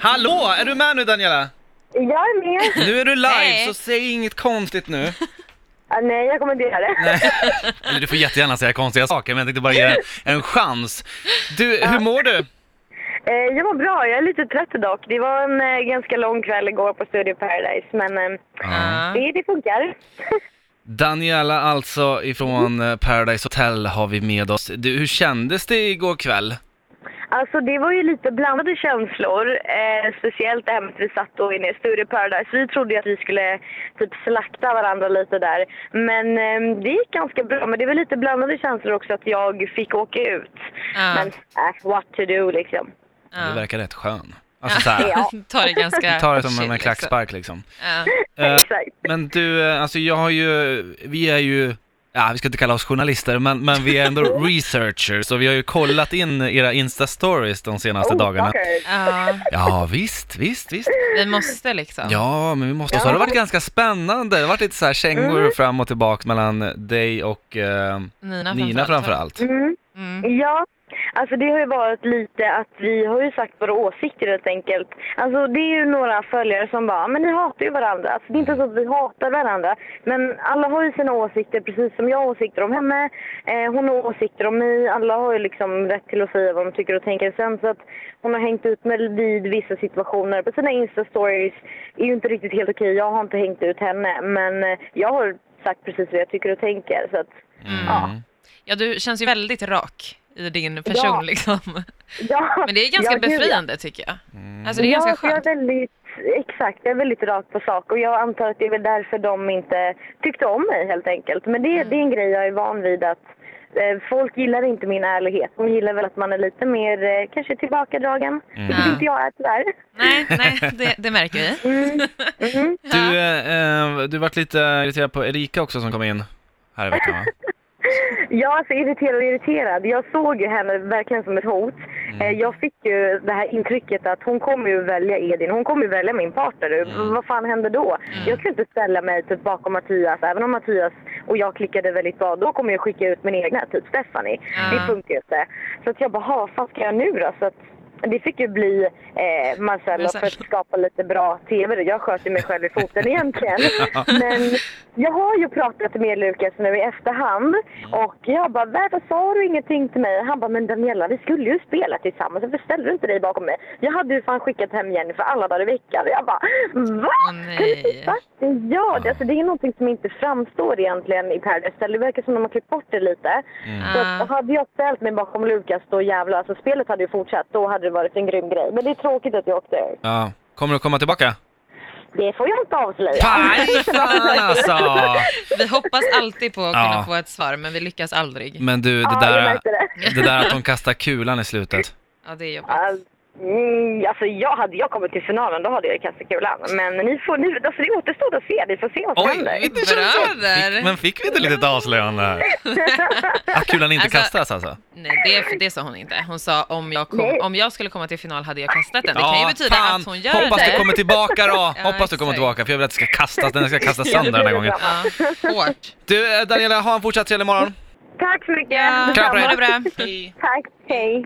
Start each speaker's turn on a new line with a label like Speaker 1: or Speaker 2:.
Speaker 1: Hallå, är du med nu Daniela?
Speaker 2: Jag är med.
Speaker 1: Nu är du live,
Speaker 3: Hej.
Speaker 1: så säg inget konstigt nu.
Speaker 2: Ah, nej, jag kommer inte göra det.
Speaker 1: Eller du får jättegärna säga konstiga saker, men jag tänkte bara ge dig en chans. Du, hur mår du?
Speaker 2: Eh, jag mår bra. Jag är lite trött dock. Det var en eh, ganska lång kväll igår på Studio Paradise, men eh,
Speaker 3: Ja.
Speaker 2: det, det funkar.
Speaker 1: Daniela alltså ifrån eh, Paradise Hotel har vi med oss. Du, hur kändes det igår kväll?
Speaker 2: Alltså, det var ju lite blandade känslor. Eh, speciellt det här med att vi satt då inne i Studio Paradise. Vi trodde ju att vi skulle typ slakta varandra lite där. Men eh, det gick ganska bra. Men det var lite blandade känslor också att jag fick åka ut.
Speaker 3: Ja.
Speaker 2: Men eh, what to do liksom.
Speaker 1: Du
Speaker 3: Ja.
Speaker 1: verkar rätt skön. Alltså såhär,
Speaker 2: Ja.
Speaker 3: Ta det ganska
Speaker 1: ta det som
Speaker 3: chill,
Speaker 1: en klackspark liksom.
Speaker 3: liksom.
Speaker 1: Eh,
Speaker 2: Exakt.
Speaker 1: Men du, eh, alltså jag har ju, vi är ju, ja vi ska inte kalla oss journalister, men, men vi är ändå researchers och vi har ju kollat in era Insta-stories de
Speaker 3: Oh,
Speaker 1: senaste Alltså, dagarna.
Speaker 2: Oh, fuckers.
Speaker 3: Ja. Ja.
Speaker 1: Ja, visst, visst, visst.
Speaker 3: Vi måste liksom.
Speaker 1: Ja, men vi måste, och så har det varit ganska spännande, det har varit lite så här kängor
Speaker 2: Mm.
Speaker 1: fram och tillbaka mellan dig och eh,
Speaker 3: Nina,
Speaker 1: Nina framför allt.
Speaker 3: framförallt.
Speaker 2: Mm.
Speaker 3: Mm.
Speaker 2: Ja, alltså det har ju varit lite att vi har ju sagt våra åsikter helt enkelt. Alltså det är ju några följare som bara, "Ah, men ni hatar ju varandra. Alltså det är inte så att vi hatar varandra. Men alla har ju sina åsikter, precis som jag har åsikter om henne. Eh, hon har åsikter om mig. Alla har ju liksom rätt till att säga vad de tycker och tänker. Sen så att hon har hängt ut med vid vissa situationer på sina Insta-stories är ju inte riktigt helt okej. Jag har inte hängt ut henne, men eh, jag har sagt precis vad jag tycker och tänker. Så att,
Speaker 1: Mm.
Speaker 2: ja.
Speaker 3: Ja, du känns ju väldigt rak i din person
Speaker 2: Ja.
Speaker 3: liksom.
Speaker 2: ja.
Speaker 3: Men det är ganska
Speaker 2: Ja, gud, ja.
Speaker 3: befriande tycker jag.
Speaker 1: Mm.
Speaker 3: Alltså det är ganska
Speaker 2: jag
Speaker 3: skönt.
Speaker 2: är väldigt, exakt, jag är väldigt rakt på sak och jag antar att det är väl därför de inte tyckte om mig helt enkelt. Men det,
Speaker 3: Mm.
Speaker 2: det är en grej jag är van vid att eh, folk gillar inte min ärlighet. De gillar väl att man är lite mer eh, kanske tillbakadragen, vilket
Speaker 1: Mm.
Speaker 3: Ja.
Speaker 2: inte jag är tyvärr.
Speaker 3: Nej, nej, det, det märker vi.
Speaker 2: Mm.
Speaker 1: Du, eh, eh, du vart lite irriterad på Erika också som kom in här i veckan va?
Speaker 2: Jag är så irriterad och irriterad. Jag såg ju henne verkligen som ett hot. Eh, Jag fick ju det här intrycket att hon kommer ju välja Edin. Hon kommer ju välja min partner. V- Vad fan händer då? Jag kan inte ställa mig typ bakom Mattias. Även om Mattias och jag klickade väldigt bra, då kommer jag skicka ut min egna, typ Stephanie.
Speaker 3: Ja.
Speaker 2: Det funkar ju inte. Så att jag bara, "Ha, vad fan ska jag nu då? Så att det fick ju bli eh, Marcello för att skapa lite bra TV. Jag sköt ju mig själv i foten egentligen. Men jag har ju pratat med Lukas nu i efterhand och jag bara, varför sa du ingenting till mig? Han bara, men Daniela vi skulle ju spela tillsammans, varför ställde du inte dig bakom mig? Jag hade ju fan skickat hem Jennifer alla dagar i veckan. Jag bara, va?
Speaker 3: Åh, nej.
Speaker 2: Faktiskt gör det. Alltså, det är någonting som inte framstår egentligen i Paradise Hotel. Det verkar som de har klippt bort det lite.
Speaker 1: Mm.
Speaker 2: Så att, hade jag ställt mig bakom Lukas då jävlar, alltså spelet hade ju fortsatt. Då hade det varit en grym grej. Men det är tråkigt att jag åkte ut.
Speaker 1: Ja. Kommer du komma tillbaka?
Speaker 2: Det får jag inte avslöja.
Speaker 1: Paj fan alltså!
Speaker 3: Vi hoppas alltid på att kunna
Speaker 1: Ja. Mm.
Speaker 3: få ett svar, men vi lyckas aldrig.
Speaker 1: Men du, det
Speaker 2: Ja, jag
Speaker 1: där,
Speaker 2: märkte det.
Speaker 1: det där att de kastar kulan i slutet.
Speaker 3: Ja, det är jobbigt.
Speaker 2: Alltså, mm, alltså jag hade jag kommit till finalen då hade jag kastat kulan. Men ni får, ni, alltså det återstår att se. Vi får se vad som händer.
Speaker 1: inte känns så.
Speaker 3: Bröder.
Speaker 1: Fick, men fick vi inte lite avslöjande här? Att kulan inte
Speaker 3: Alltså-
Speaker 1: kastas alltså?
Speaker 3: Nej, det, det sa hon inte. Hon sa om jag, kom,
Speaker 2: Nej.
Speaker 3: om jag skulle komma till final hade jag kastat den. Det kan ju betyda att hon gör
Speaker 1: Hoppas
Speaker 3: det.
Speaker 1: du kommer tillbaka då!
Speaker 3: Ja,
Speaker 1: Hoppas du kommer
Speaker 3: exakt.
Speaker 1: tillbaka, för jag vill att det ska kastas, den ska kastas sönder den här gången.
Speaker 3: Ja, hårt.
Speaker 1: Du, eh, Daniela, ha en fortsatt trevlig morgon.
Speaker 2: Tack så mycket.
Speaker 3: Ja,
Speaker 1: Kram på
Speaker 3: ha
Speaker 1: dig.
Speaker 3: det bra. Hej.
Speaker 2: Tack. Hej.